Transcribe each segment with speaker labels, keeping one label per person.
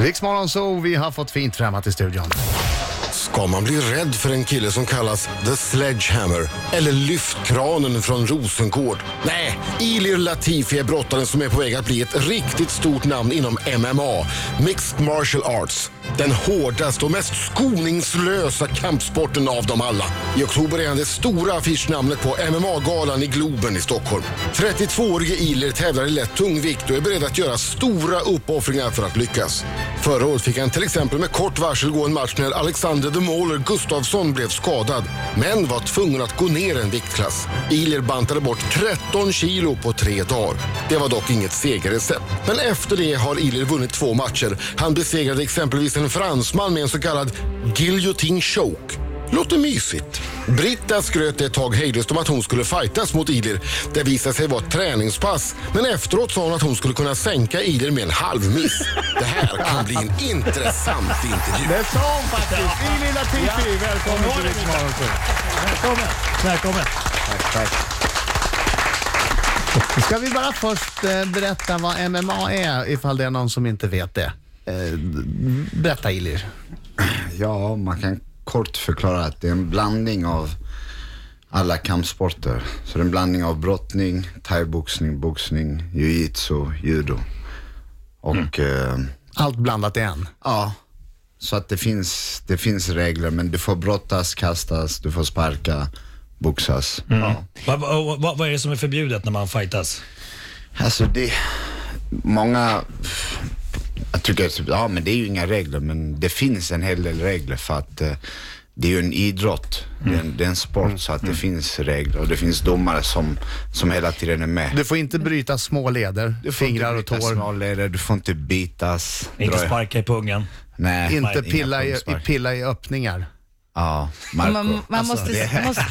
Speaker 1: Riksmorgon så vi har fått fint främmat i studion.
Speaker 2: Ska man bli rädd för en kille som kallas The Sledgehammer eller Lyftkranen från Rosengård? Nej, Ilir Latifi är brottaren som är på väg att bli ett riktigt stort namn inom MMA, Mixed Martial Arts. Den hårdaste och mest skoningslösa kampsporten av dem alla. I oktober är han det stora affischnamnet på MMA-galan i Globen i Stockholm. 32-årige Ilir tävlar i lätt tungvikt och är beredd att göra stora uppoffringar för att lyckas. Förra året fick han till exempel med kort varsel gå en match när Alexander The Mauler Gustafsson blev skadad, men var tvungen att gå ner en viktklass. Ilir bantade bort 13 kilo på tre dagar. Det var dock inget segerrecept. Men efter det har Ilir vunnit två matcher. Han besegrade exempelvis en fransman med en så kallad guillotine choke. Låter mysigt. Britta skröt ett tag hejdlöst om att hon skulle fightas mot Ilir. Det visade sig vara ett träningspass, men efteråt sa hon att hon skulle kunna sänka Ilir med en halv miss. Det här kan bli en intressant intervju.
Speaker 1: Det sa hon faktiskt. I lilla Titti, välkommen till Riksmorgon så.
Speaker 3: Välkommen! Välkommen!
Speaker 1: Ska vi bara först eh, berätta vad MMA är, ifall det är någon som inte vet det. Eh, berätta Ilir.
Speaker 4: Ja, man kan kort förklara att det är en blandning av alla kampsporter. Så det är en blandning av brottning, thaiboxning, boxning, jujitsu, judo. Och eh,
Speaker 1: Allt blandat i en.
Speaker 4: ja, så att det finns, det finns regler men du får brottas, kastas, du får sparka, boxas. Ja.
Speaker 3: Vad vad- vad är det som är förbjudet när man fightas?
Speaker 4: Alltså det, många, jag tycker typ, ja men det är ju inga regler, men det finns en hel del regler för att eh, det är ju en idrott, det,
Speaker 1: Mm.
Speaker 4: är en, det är en sport så att det finns regler och det finns domare som, som hela tiden är med.
Speaker 1: Du får inte bryta små leder,
Speaker 4: får inte
Speaker 1: fingrar och
Speaker 4: bryta
Speaker 1: tår.
Speaker 4: Småleder, du får inte bitas.
Speaker 3: Inte
Speaker 4: dra i-
Speaker 3: sparka i pungen.
Speaker 4: Nej.
Speaker 1: Inte
Speaker 4: inga
Speaker 1: pilla i, i,
Speaker 4: pungspark.
Speaker 1: pilla i öppningar.
Speaker 4: Ja,
Speaker 5: Man,
Speaker 4: Marco.
Speaker 5: man,
Speaker 1: Alltså,
Speaker 5: måste, måste,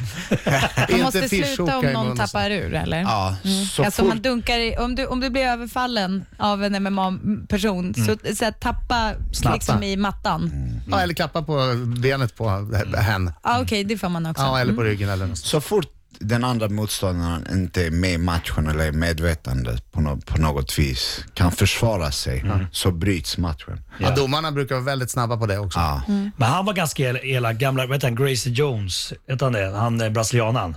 Speaker 5: man
Speaker 1: Inte
Speaker 5: måste sluta
Speaker 1: fishhooka
Speaker 5: om
Speaker 1: i munnen
Speaker 5: någon tappar ur eller?
Speaker 4: Ja, så
Speaker 5: Alltså
Speaker 4: fort-
Speaker 5: man dunkar i, om, du, om du blir överfallen av en MMA-person,
Speaker 1: Mm.
Speaker 5: så, så här, tappa
Speaker 1: Snappa.
Speaker 5: liksom i mattan.
Speaker 1: Ja, eller klappa på benet på h- hen.
Speaker 5: Ah, Okej, det får man också.
Speaker 1: Ja, eller på ryggen eller något. sånt.
Speaker 4: Så fort den andra motståndaren inte är med i matchen eller är medvetande på, nå- på något vis, kan försvara sig, så bryts matchen.
Speaker 1: Ja, domarna brukar vara väldigt snabba på det också.
Speaker 4: Ja.
Speaker 3: Men han var ganska el- elak. Gamla, vad heter han? Gracie Jones, hette han det? Han eh, är brasilianan.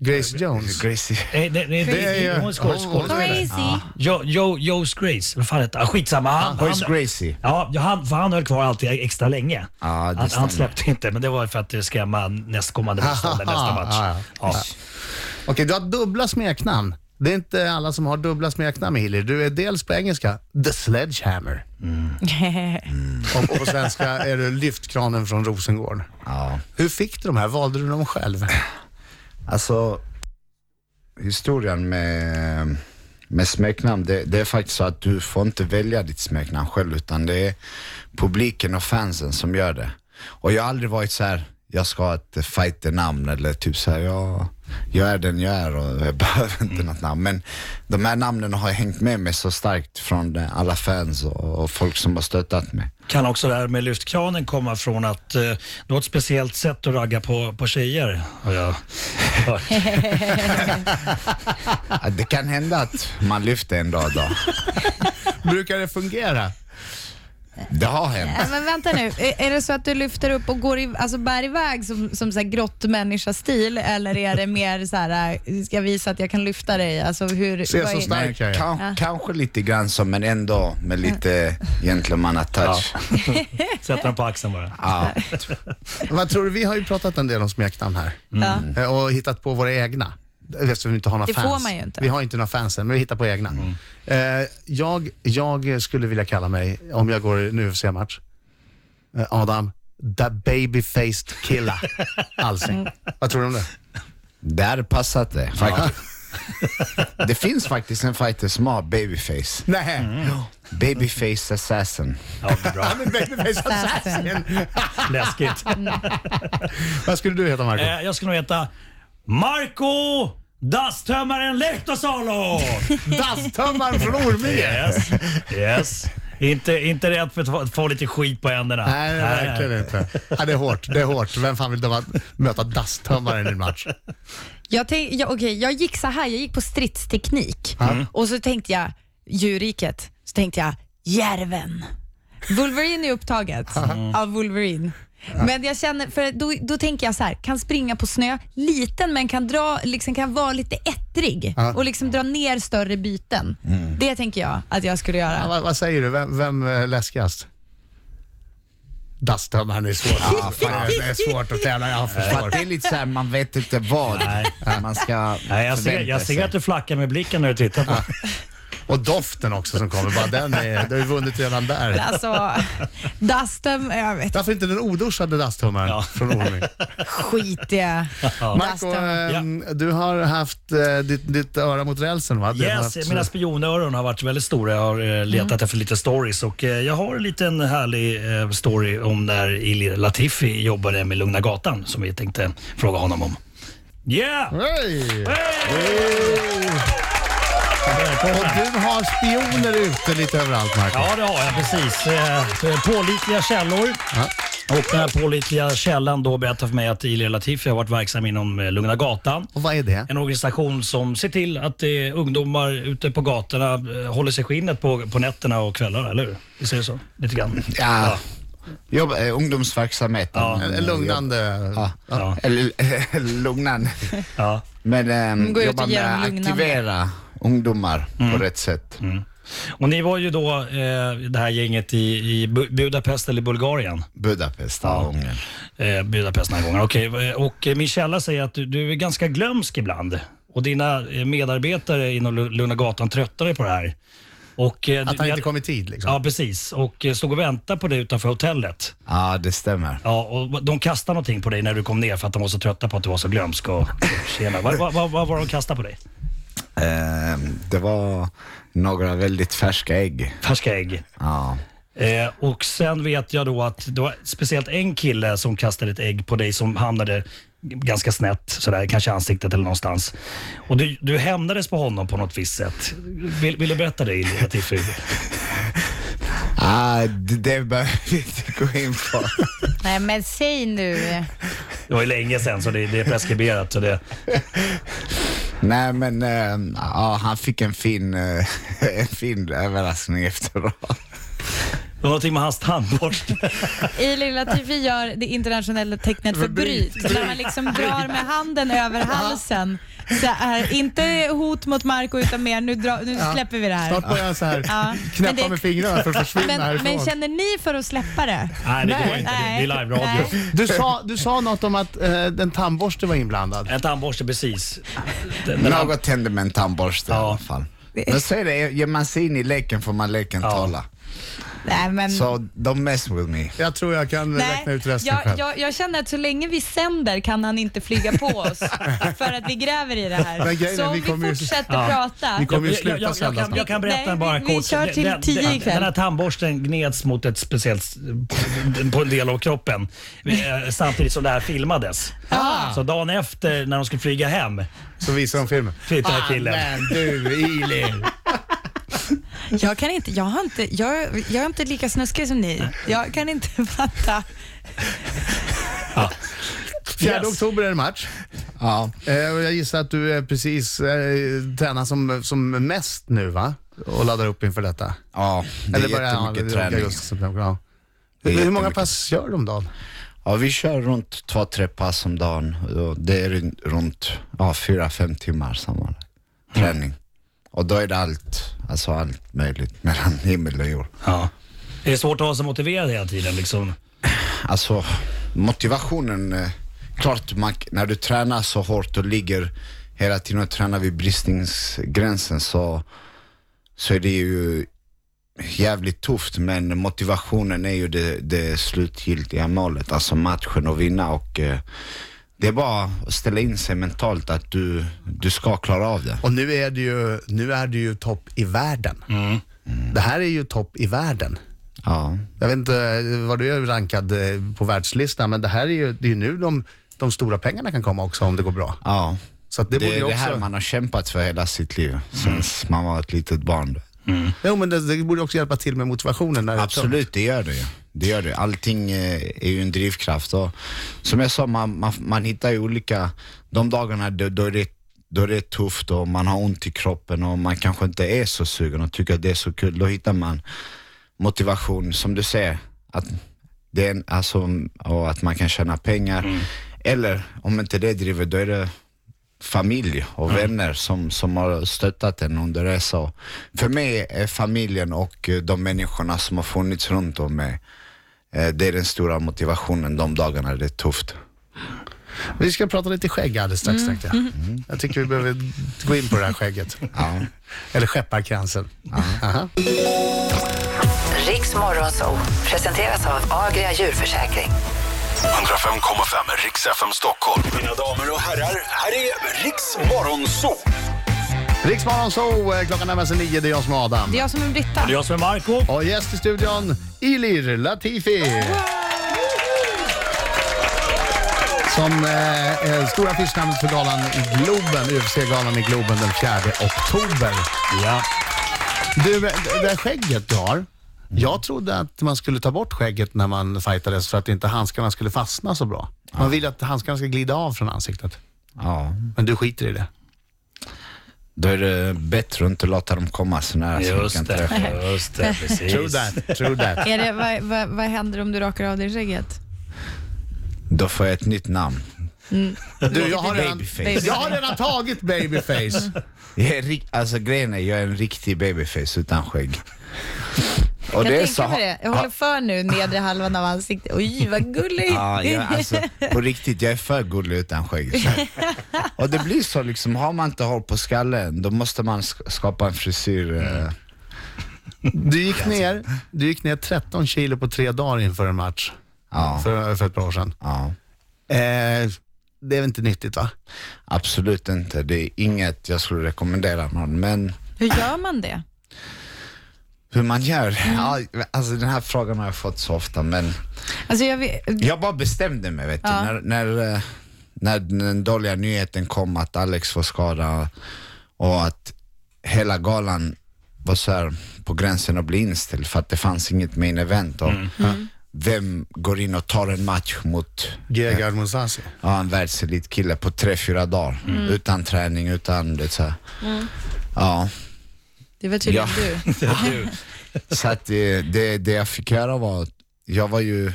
Speaker 1: Grace Jones.
Speaker 4: Gracie.
Speaker 3: Nej, nej, nej,
Speaker 1: Det är ju-
Speaker 3: hon är skådis-
Speaker 1: hon- hon-
Speaker 3: skådis.
Speaker 5: Crazy.
Speaker 3: Jo, jo, Joe's Grace, vad fan heter han? Skitsamma. Han,
Speaker 4: Horace
Speaker 3: han,
Speaker 4: Gracie.
Speaker 3: ja, han, för han höll kvar alltid extra länge.
Speaker 4: Ja, det
Speaker 3: han, han
Speaker 4: stämmer.
Speaker 3: släppte inte, men det var för att skrämma nästkommande motståndare nästa match.
Speaker 1: Ah, Ja, ja.
Speaker 3: Ja.
Speaker 1: Okej, du har dubbla smeknamn. Det är inte alla som har dubbla smeknamn, Hiller. Du är dels på engelska, The Sledgehammer. Och och på svenska är du lyftkranen från Rosengård.
Speaker 4: Ja.
Speaker 1: Hur fick du de här? Valde du dem själv?
Speaker 4: Alltså, historien med, med smeknamn, det, det är faktiskt så att du får inte välja ditt smeknamn själv, utan det är publiken och fansen som gör det. Och jag har aldrig varit så här, jag ska ha ett fighternamn eller typ så här, jag, jag är den jag är och jag behöver inte något namn. Men de här namnen har hängt med mig så starkt från eh, alla fans och, och folk som har stöttat mig.
Speaker 3: Kan också det här med lyftkranen komma från att eh, det var ett speciellt sätt att ragga på, på tjejer, har jag hört.
Speaker 4: Ja, Det kan hända att man lyfter en dag då.
Speaker 1: Brukar det fungera?
Speaker 4: Det har hänt.
Speaker 5: Äh, Men vänta nu, är är det så att du lyfter upp och går i, alltså bär iväg som, som så här grottmänniska-stil eller är det mer så här, äh, ska jag visa att jag kan lyfta dig? Alltså hur,
Speaker 1: Se
Speaker 5: vad
Speaker 1: så
Speaker 5: är-
Speaker 1: stark.
Speaker 4: Nej,
Speaker 1: Starkare.
Speaker 4: kan, Kanske lite grann så, men ändå med lite gentlemannatouch. Ja.
Speaker 3: Sätter den på axeln bara.
Speaker 1: Vad tror du? Vi har ju pratat en del om smeknamn här
Speaker 5: Ja.
Speaker 1: Eh, och hittat på våra egna. Eftersom vi inte har några
Speaker 5: Det får
Speaker 1: fans.
Speaker 5: man ju inte.
Speaker 1: Vi har inte några fans än, men vi hittar på egna. Eh, jag, jag skulle vilja kalla mig, om jag går i en UFC-match, eh, Adam, the baby-faced killa Alsing.
Speaker 5: Mm.
Speaker 1: Vad tror du om det?
Speaker 4: Där passat det faktiskt. det finns faktiskt en fighter som har babyface.
Speaker 1: Nej.
Speaker 4: Babyface assassin.
Speaker 3: Ja, det är bra.
Speaker 1: Babyface assassin.
Speaker 3: Läskigt.
Speaker 1: Vad skulle du heta, Marco?
Speaker 3: Eh, jag skulle nog heta Marco Dasstömmaren Lehtosalo!
Speaker 1: Dasstömmaren från Orminge.
Speaker 3: Yes, yes. Inte, inte rädd för att få- få lite skit på händerna.
Speaker 1: Nej, det är verkligen inte. Ja, det är hårt. Det är hårt. Vem fan vill döma- möta dasstömmaren i en match?
Speaker 5: Jag, tänk, jag, okej, jag gick så här, jag gick på stridsteknik och så tänkte jag djurriket, så tänkte jag järven. Wolverine är upptaget av Wolverine. Men jag känner, för då, då tänker jag så här, kan springa på snö, liten men kan, dra, liksom kan vara lite ettrig
Speaker 1: Ja.
Speaker 5: och liksom dra ner större byten. Det tänker jag att jag skulle göra.
Speaker 1: Ja, vad, vad säger du? Vem, vem är läskigast? Dastam, han är svår.
Speaker 4: Ja, fan.
Speaker 1: Det är svårt att tävla, jag
Speaker 4: För
Speaker 1: förstår.
Speaker 4: att det är lite så här, man vet inte vad man ska
Speaker 3: Nej, jag, ser,
Speaker 4: förvänta
Speaker 3: jag ser
Speaker 4: sig.
Speaker 3: att du flackar med blicken när du tittar på
Speaker 1: Och doften också som kommer, bara den är, du har ju vunnit redan där.
Speaker 5: Alltså, Dustin, jag vet
Speaker 1: Varför inte den oduschade dasstumlaren
Speaker 3: Ja.
Speaker 1: från Orming?
Speaker 5: skitiga
Speaker 1: Marco,
Speaker 5: Dustin.
Speaker 1: ehm, du har haft eh, ditt, ditt öra mot rälsen va? Du har
Speaker 3: Yes,
Speaker 1: haft,
Speaker 3: mina spionöron har varit väldigt stora. Jag har
Speaker 1: Mm.
Speaker 3: eh, letat efter lite stories och eh, jag har en liten härlig eh, story om när Ilir Latifi jobbade med Lugna Gatan som vi tänkte fråga honom om. Yeah!
Speaker 1: Hej! Och
Speaker 3: Välkomna!
Speaker 1: du har spioner ute lite överallt Marco.
Speaker 3: Ja, det har jag precis. Eh, eh, Pålitliga källor.
Speaker 1: Ja.
Speaker 3: Och den här pålitliga källan då berättar för mig att Ilir Latifi har varit verksam inom eh, Lugna Gatan.
Speaker 1: Och vad är det?
Speaker 3: En organisation som ser till att eh, ungdomar ute på gatorna eh, håller sig skinnet på, på nätterna och kvällarna, eller hur? Vi säger så? Lite grann.
Speaker 4: Ja. Jobb, eh, ungdomsverksamheten.
Speaker 3: Ja.
Speaker 4: Eh,
Speaker 1: Lugnande.
Speaker 4: Ja.
Speaker 3: Ja.
Speaker 4: Eller eh, lugnande.
Speaker 3: Ja.
Speaker 4: Men ehm,
Speaker 5: gå ut och
Speaker 4: jobba
Speaker 5: ge
Speaker 4: med
Speaker 5: dem
Speaker 4: att
Speaker 5: lugnande.
Speaker 4: aktivera ungdomar
Speaker 3: Mm.
Speaker 4: på rätt sätt.
Speaker 3: Och ni var ju då eh, det här gänget i, i Bu- Budapest eller Bulgarien.
Speaker 4: Budapest, ja. Ungern.
Speaker 3: Eh, Budapest den här gången. Okej, eh, och eh, min källa säger att du, du är ganska glömsk ibland. Och dina eh, medarbetare inom Lu- Lugna Gatan tröttar dig på det här. Och, eh,
Speaker 1: Att
Speaker 3: du-
Speaker 1: han inte kom i tid liksom.
Speaker 3: Ja, precis. Och eh, stod och väntade på dig utanför hotellet.
Speaker 4: Ja, det stämmer.
Speaker 3: Ja, och de kastade någonting på dig när du kom ner för att de var så trötta på att du var så glömsk. Och, tjena. Vad vad- vad- vad var de kastade på dig?
Speaker 4: Ehm, det var några väldigt färska ägg.
Speaker 3: Färska ägg.
Speaker 4: Ja.
Speaker 3: Eh, och sen vet jag då att det var speciellt en kille som kastade ett ägg på dig som hamnade ganska snett, sådär, kanske i ansiktet eller någonstans. Och du, du hämnades på honom på något visst sätt. Vill, vill du berätta det, Ilja Tiffy?
Speaker 4: Ah, det, det behöver vi inte gå in på.
Speaker 5: Nej men säg nu.
Speaker 3: Det var ju länge sedan så det, det är preskriberat. Så det,
Speaker 4: Nej, men ehm, ja, han fick en fin, eh, en fin överraskning efteråt.
Speaker 3: det var någonting med hans tandborste.
Speaker 5: I Lilla TV gör det internationella tecknet för bryt. När man liksom drar med handen över halsen. Så här, inte hot mot Marco utan mer nu, dra, nu släpper vi det här.
Speaker 1: Snart börjar jag så här
Speaker 5: Ja. Men
Speaker 1: knäppa
Speaker 5: det-
Speaker 1: med fingrarna för att försvinna
Speaker 5: Men,
Speaker 1: härifrån.
Speaker 5: men känner ni för att släppa det?
Speaker 3: Nej, det går inte. Det, det är
Speaker 5: Nej.
Speaker 3: live-radio.
Speaker 5: Nej.
Speaker 1: Du sa, du sa något om att eh, en tandborste var inblandad.
Speaker 3: En tandborste, precis. Den, den,
Speaker 4: Något hände med en tandborste i
Speaker 3: Ja.
Speaker 4: alla fall. Men så är det, ger man sig in i leken får man leken
Speaker 3: Ja.
Speaker 4: tala.
Speaker 5: Nej, men...
Speaker 4: Så don't mess with me.
Speaker 1: Jag tror jag kan
Speaker 5: Nej,
Speaker 1: räkna ut resten
Speaker 5: jag,
Speaker 1: själv.
Speaker 5: jag, jag känner att så länge vi sänder kan han inte flyga på oss för att vi gräver i det
Speaker 1: Men grejen
Speaker 5: här.
Speaker 1: är,
Speaker 5: Så om
Speaker 1: vi
Speaker 5: vi
Speaker 1: kommer ju-
Speaker 5: fortsätter
Speaker 3: Ja.
Speaker 5: prata.
Speaker 1: Vi kommer ju
Speaker 3: Jag-
Speaker 1: sluta
Speaker 3: jag, jag, jag,
Speaker 1: sända
Speaker 3: kan,
Speaker 1: snart.
Speaker 3: jag kan berätta
Speaker 5: Nej,
Speaker 3: bara
Speaker 5: vi- vi
Speaker 3: kort.
Speaker 5: kör till
Speaker 3: Den-
Speaker 5: tio
Speaker 3: den,
Speaker 5: ikväll.
Speaker 3: Den här tandborsten gneds mot ett speciellt på en del av kroppen eh, samtidigt som det här filmades. Så dagen efter när de skulle flyga hem
Speaker 1: Ah! Så visar de filmen.
Speaker 3: tittade ah, killen.
Speaker 1: Men du, Ili.
Speaker 5: Jag kan inte, jag har inte, jag, jag är inte lika snuskig som ni. Jag kan inte fatta.
Speaker 1: 4
Speaker 3: Yes.
Speaker 1: oktober är det match.
Speaker 4: Ja.
Speaker 1: Eh, och jag gissar att du är precis eh, tränar som, som mest nu va? Och laddar upp inför detta.
Speaker 4: Ja, det är jättemycket
Speaker 1: ja,
Speaker 4: träning.
Speaker 1: augusti, september, ja. Hur
Speaker 4: är
Speaker 1: många
Speaker 4: jättemycket.
Speaker 1: pass gör du om dagen?
Speaker 4: Ja, vi kör runt två, tre pass om dagen. Och Det är run- runt ja, fyra, fem timmar sammanlagt träning. Och då är det allt, alltså allt möjligt mellan himmel och jord.
Speaker 3: Ja. Är det svårt att ha sig motiverad hela tiden? Liksom?
Speaker 4: Alltså motivationen, eh, klart man, när du tränar så hårt och ligger hela tiden och tränar vid bristningsgränsen så, så är det ju jävligt tufft men motivationen är ju det, det slutgiltiga målet, alltså matchen och vinna och eh, det är bara att ställa in sig mentalt att du, du ska klara av det.
Speaker 1: Och nu är du ju, nu är du ju topp i världen.
Speaker 4: Mm.
Speaker 1: Mm. Det här är ju topp i världen.
Speaker 4: Ja.
Speaker 1: Jag vet inte eh, vad du är rankad eh, på världslistan, men det här är ju, det är ju nu de, de stora pengarna kan komma också om det går bra.
Speaker 4: ja.
Speaker 1: Så att det,
Speaker 4: Det,
Speaker 1: borde
Speaker 4: är
Speaker 1: ju
Speaker 4: det här
Speaker 1: också, Mm.
Speaker 4: man har kämpat för hela sitt liv, sen man var ett litet barn.
Speaker 1: jo, men det, det borde också hjälpa till med motivationen. När det är tungt.
Speaker 4: Absolut, det gör det ju. Det gör det. Allting eh, är ju en drivkraft. Och som jag sa, man, man, man hittar ju olika... De dagarna då, då, är det, då är det tufft och man har ont i kroppen och man kanske inte är så sugen och tycker att det är så kul. Då hittar man motivation, som du säger, att, det är en, alltså, och att man kan tjäna pengar. Eller om inte det driver, då är det familj och vänner som, som har stöttat en under resan. Och För mig är familjen och eh, de människorna som har funnits runt om mig, eh, det är den stora motivationen de dagarna det är tufft.
Speaker 1: Vi ska prata lite skägg alldeles strax tänkte jag. Mm. Jag tycker vi behöver gå in på det här skägget.
Speaker 4: Ja.
Speaker 1: Eller skepparkransen. Aha.
Speaker 6: Riks Morgonzoo presenteras av Agria djurförsäkring.
Speaker 7: 105,5 Riks FM Stockholm. Mina damer och herrar, här är Riks Morgonzoo.
Speaker 1: Riksmorgon så eh, klockan närmar sig nio, det är jag som är Adam.
Speaker 5: Det är jag som är Britta.
Speaker 3: Det är jag som är Marco.
Speaker 1: Och gäst i studion, Ilir Latifi. Som eh, eh, stora affischnamnet för galan i Globen, UFC-galan i Globen den 4 oktober.
Speaker 3: Ja.
Speaker 1: Du, det det där skägget du har. Jag trodde att man skulle ta bort skägget när man fightades för att inte handskarna skulle fastna så bra. Man vill att handskarna ska glida av från ansiktet.
Speaker 4: Ja.
Speaker 1: Men du skiter i det.
Speaker 4: Då är det bättre att inte låta dem komma så nära så vi kan
Speaker 3: Just
Speaker 4: träffa.
Speaker 3: det, just det, precis.
Speaker 1: True that, true that.
Speaker 5: Är det, vad, vad, vad händer om du rakar av dig skägget?
Speaker 4: Då får jag ett nytt namn.
Speaker 5: Mm.
Speaker 1: Du, jag har redan,
Speaker 4: Babyface.
Speaker 1: jag har redan tagit babyface.
Speaker 4: Jag är rik- alltså grejen är, jag är en riktig babyface utan skägg. Och
Speaker 5: jag
Speaker 4: det är
Speaker 5: tänker mig det. Jag håller för nu nedre halvan av ansiktet. Oj, vad gulligt.
Speaker 4: Ja, jag, alltså, på riktigt, jag är för gullig utan skägg. Så. Och det blir så liksom, har man inte hår på skallen, då måste man sk- skapa en frisyr. eh,
Speaker 1: Du gick ner, du gick ner 13 kilo på tre dagar inför en match
Speaker 4: Ja.
Speaker 1: för, för ett par år sedan.
Speaker 4: Ja.
Speaker 1: Eh, det är väl inte nyttigt va?
Speaker 4: Absolut inte, det är inget jag skulle rekommendera någon. Men
Speaker 5: Hur gör man det?
Speaker 4: hur man gör? Ja, alltså den här frågan har jag fått så ofta, men
Speaker 5: Alltså jag vet,
Speaker 4: Jag bara bestämde mig vet du.
Speaker 5: Ja.
Speaker 4: När, när, eh, när den dåliga nyheten kom att Alex var skadad och att hela galan var så här på gränsen att bli inställd för att det fanns inget main event. Och Vem går in och tar en match mot
Speaker 1: Gegard Mousasi.
Speaker 4: ja, en världselit kille på tre, fyra dagar utan träning, utan det så här. Ja,
Speaker 5: det var tydligen
Speaker 4: Ja.
Speaker 5: du.
Speaker 4: så att eh, det, det jag fick göra var att jag var ju,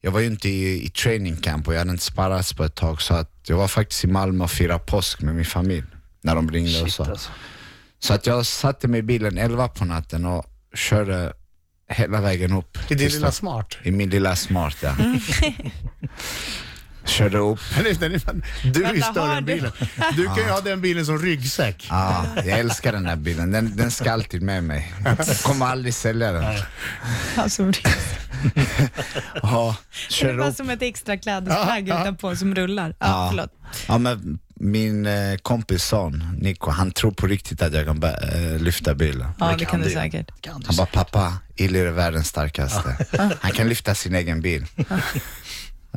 Speaker 4: jag var ju inte i, i training camp och jag hade inte sparrats på ett tag så att jag var faktiskt i Malmö och firade påsk med min familj när de ringde och
Speaker 3: Shit
Speaker 4: sa.
Speaker 3: alltså.
Speaker 4: Så att jag satte mig i bilen 11 på natten och körde hela vägen upp.
Speaker 1: I din
Speaker 4: till
Speaker 1: lilla
Speaker 4: Stock-
Speaker 1: smart.
Speaker 4: I min lilla smart ja.
Speaker 5: Mm.
Speaker 4: körde upp.
Speaker 1: Du är ju
Speaker 5: Vänta,
Speaker 1: större
Speaker 5: har
Speaker 1: än
Speaker 5: du-
Speaker 1: bilen. Du kan ju ha den bilen som ryggsäck.
Speaker 4: Ja, jag älskar den här bilen. Den, den ska alltid med mig. Jag kommer aldrig sälja den.
Speaker 5: Alltså, det
Speaker 4: Ja,
Speaker 5: är
Speaker 4: körde
Speaker 5: bara
Speaker 4: upp
Speaker 5: som ett extra klädesplagg utanpå som rullar. Ja, förlåt.
Speaker 4: Ja, men min eh, kompis son, Nico, han tror på riktigt att jag kan bä- eh, lyfta bilen.
Speaker 5: Ja, det kan du säkert.
Speaker 4: Han bara, pappa, Illy är världens starkaste. Han kan lyfta sin egen bil.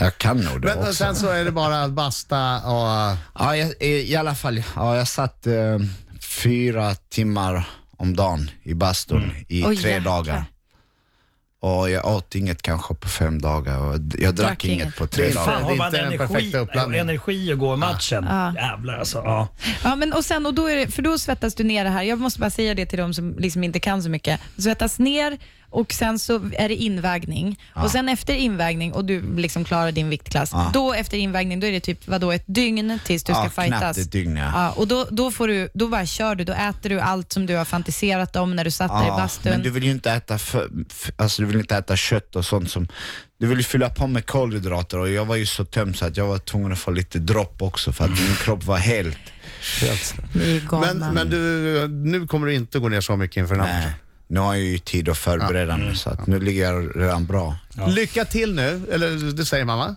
Speaker 4: Jag kan nog det
Speaker 1: Men och
Speaker 4: också.
Speaker 1: sen så är det bara att basta och...
Speaker 4: Ja, jag, eh, i, i alla fall, ja, jag satt eh, fyra timmar om dagen i bastun i
Speaker 5: Mm. Oj,
Speaker 4: tre
Speaker 5: jäklar.
Speaker 4: dagar. Och jag åt inget kanske på fem dagar och d- jag drack,
Speaker 5: Drack
Speaker 4: inget,
Speaker 5: inget.
Speaker 4: på tre
Speaker 1: Det är
Speaker 4: dagar.
Speaker 1: det
Speaker 3: Fan, har man
Speaker 1: inte den
Speaker 3: energi,
Speaker 1: perfekta uppladdningen.
Speaker 3: energi att gå i matchen?
Speaker 5: Ja.
Speaker 3: Jävlar alltså. Ja.
Speaker 5: Ja, men och sen, och då är det, för då svettas du ner det här. Jag måste bara säga det till de som liksom inte kan så mycket. Svettas ner och sen så är det invägning. Och sen efter invägning och du liksom klarar din viktklass, då efter invägning då är det typ vadå, ett dygn tills du
Speaker 4: Ja,
Speaker 5: ska
Speaker 4: knappt
Speaker 5: fightas.
Speaker 4: ett dygn, ja.
Speaker 5: och då, då, får du, då bara kör du, då äter du allt som du har fantiserat om när du satt där i bastun.
Speaker 4: Ah, men du vill ju inte äta, för, f- alltså du vill inte äta kött och sånt som... Du vill ju fylla på med kolhydrater och jag var ju så tömd så att jag var tvungen att få lite dropp också för att min kropp var helt...
Speaker 5: Ni är galna.
Speaker 1: Men, men du, nu kommer du inte gå ner så mycket inför den här
Speaker 4: Nej, Äh, nu har jag ju tid att förbereda mig så att nu ligger jag redan bra.
Speaker 1: matchen. Lycka till nu, eller det säger mamma.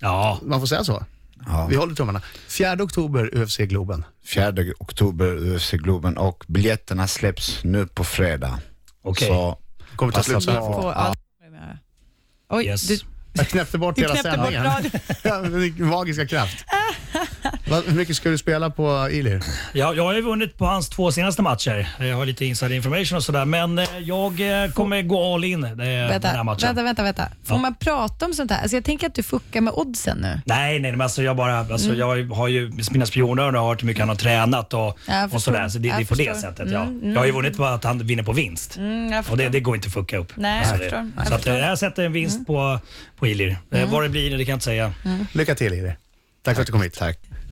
Speaker 3: ja.
Speaker 1: Man får säga så.
Speaker 4: Ja.
Speaker 1: Vi håller tummarna. 4 oktober, UFC Globen.
Speaker 4: 4 oktober, UFC Globen och biljetterna släpps nu på fredag.
Speaker 3: Okej.
Speaker 4: Så
Speaker 1: Kommer ta
Speaker 4: Passa
Speaker 1: slut.
Speaker 4: på.
Speaker 5: på allt Oj,
Speaker 3: Yes.
Speaker 5: du,
Speaker 3: Äh,
Speaker 1: Jag knäppte bort
Speaker 5: du
Speaker 1: hela
Speaker 5: knäppte bort
Speaker 1: sändningen.
Speaker 5: radion.
Speaker 1: Ja, men Magiska kraft. Vad- Hur mycket ska du spela på Ilir?
Speaker 3: Jag, jag har ju vunnit på hans två senaste matcher. Jag har lite inside information och sådär, men eh, jag eh, kommer gå all in eh, den här
Speaker 5: Vänta,
Speaker 3: matchen.
Speaker 5: vänta, vänta, vänta. Får
Speaker 3: Ja.
Speaker 5: man prata om sånt här? Alltså jag tänker att du fuckar med oddsen nu.
Speaker 3: Nej, nej, men alltså jag bara, alltså jag har ju mina spionöron och har hört hur mycket han har tränat och,
Speaker 5: Mm. Ja, jag
Speaker 3: och
Speaker 5: förstår.
Speaker 3: sådär. Så det, det är
Speaker 5: Jag
Speaker 3: på det
Speaker 5: förstår.
Speaker 3: sättet. Ja. Jag har ju vunnit på att han vinner på vinst.
Speaker 5: Mm, jag
Speaker 3: Och det,
Speaker 5: förstår.
Speaker 3: det går inte att fucka upp.
Speaker 5: Nej, jag
Speaker 3: det,
Speaker 5: förstår. Jag
Speaker 3: så att, eh,
Speaker 5: förstår. Mm.
Speaker 3: jag sätter en vinst på, på Ilir. Eh, Vad det blir, det kan jag inte säga.
Speaker 1: Lycka till Ilir. Tack för att du kom hit. Tack.